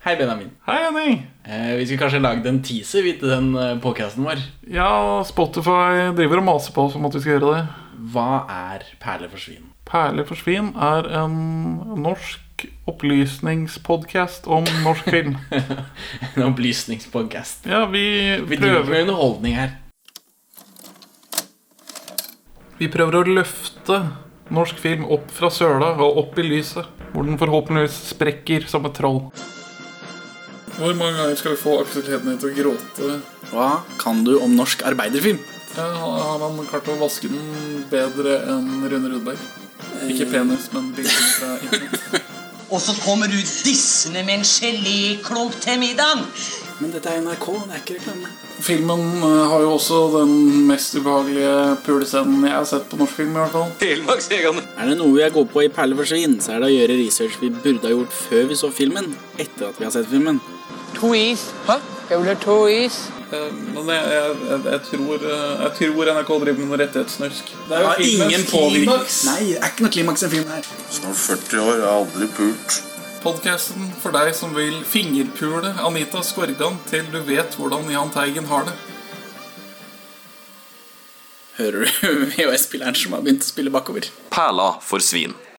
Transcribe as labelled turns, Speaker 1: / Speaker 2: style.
Speaker 1: Hei, Benjamin.
Speaker 2: Hei, Henning.
Speaker 1: Eh, vi skulle kanskje lagd en teaser vi, til den eh, podcasten vår.
Speaker 2: Ja, Spotify driver og maser på oss om at vi skal gjøre det.
Speaker 1: Hva er Perle for svin?
Speaker 2: Perle for svin er en norsk opplysningspodkast om norsk film.
Speaker 1: En opplysningspodcast.
Speaker 2: Ja, vi
Speaker 1: Vi driver
Speaker 2: prøver,
Speaker 1: med underholdning her.
Speaker 2: vi prøver å løfte norsk film opp fra søla og opp i lyset. Hvor den forhåpentligvis sprekker som et troll. Hvor mange ganger skal vi få Aksel Hednie til å gråte?
Speaker 1: Hva kan du om norsk arbeiderfilm?
Speaker 2: har han klart å vaske den bedre enn Rune Rudberg? Ikke penis, men bilder fra internett.
Speaker 3: Og så kommer du dissende med en geléklump til middagen.
Speaker 1: Men dette er NRK, det er ikke reklame.
Speaker 2: Filmen eh, har jo også den mest ubehagelige pulescenen jeg har sett på norsk film. i hvert fall
Speaker 4: Er det noe jeg går på i Perle for svin, så er det å gjøre research vi burde ha gjort før vi så filmen, etter at vi har sett filmen.
Speaker 5: To is. Hæ? Jeg vil ha to is.
Speaker 2: Men jeg, tror, NRK driver med noe rettighetssnusk. Det er jo
Speaker 1: Ingen påvirkning.
Speaker 4: Nei, det er ikke noe klimaks i filmen her.
Speaker 6: Snart 40 år, jeg har aldri pult.
Speaker 2: Podcasten for deg som vil fingerpule Anita Skorgan til du vet hvordan Jahn Teigen har det.
Speaker 4: Hører du VHS-spilleren som har begynt å spille bakover?
Speaker 7: Perla for svin.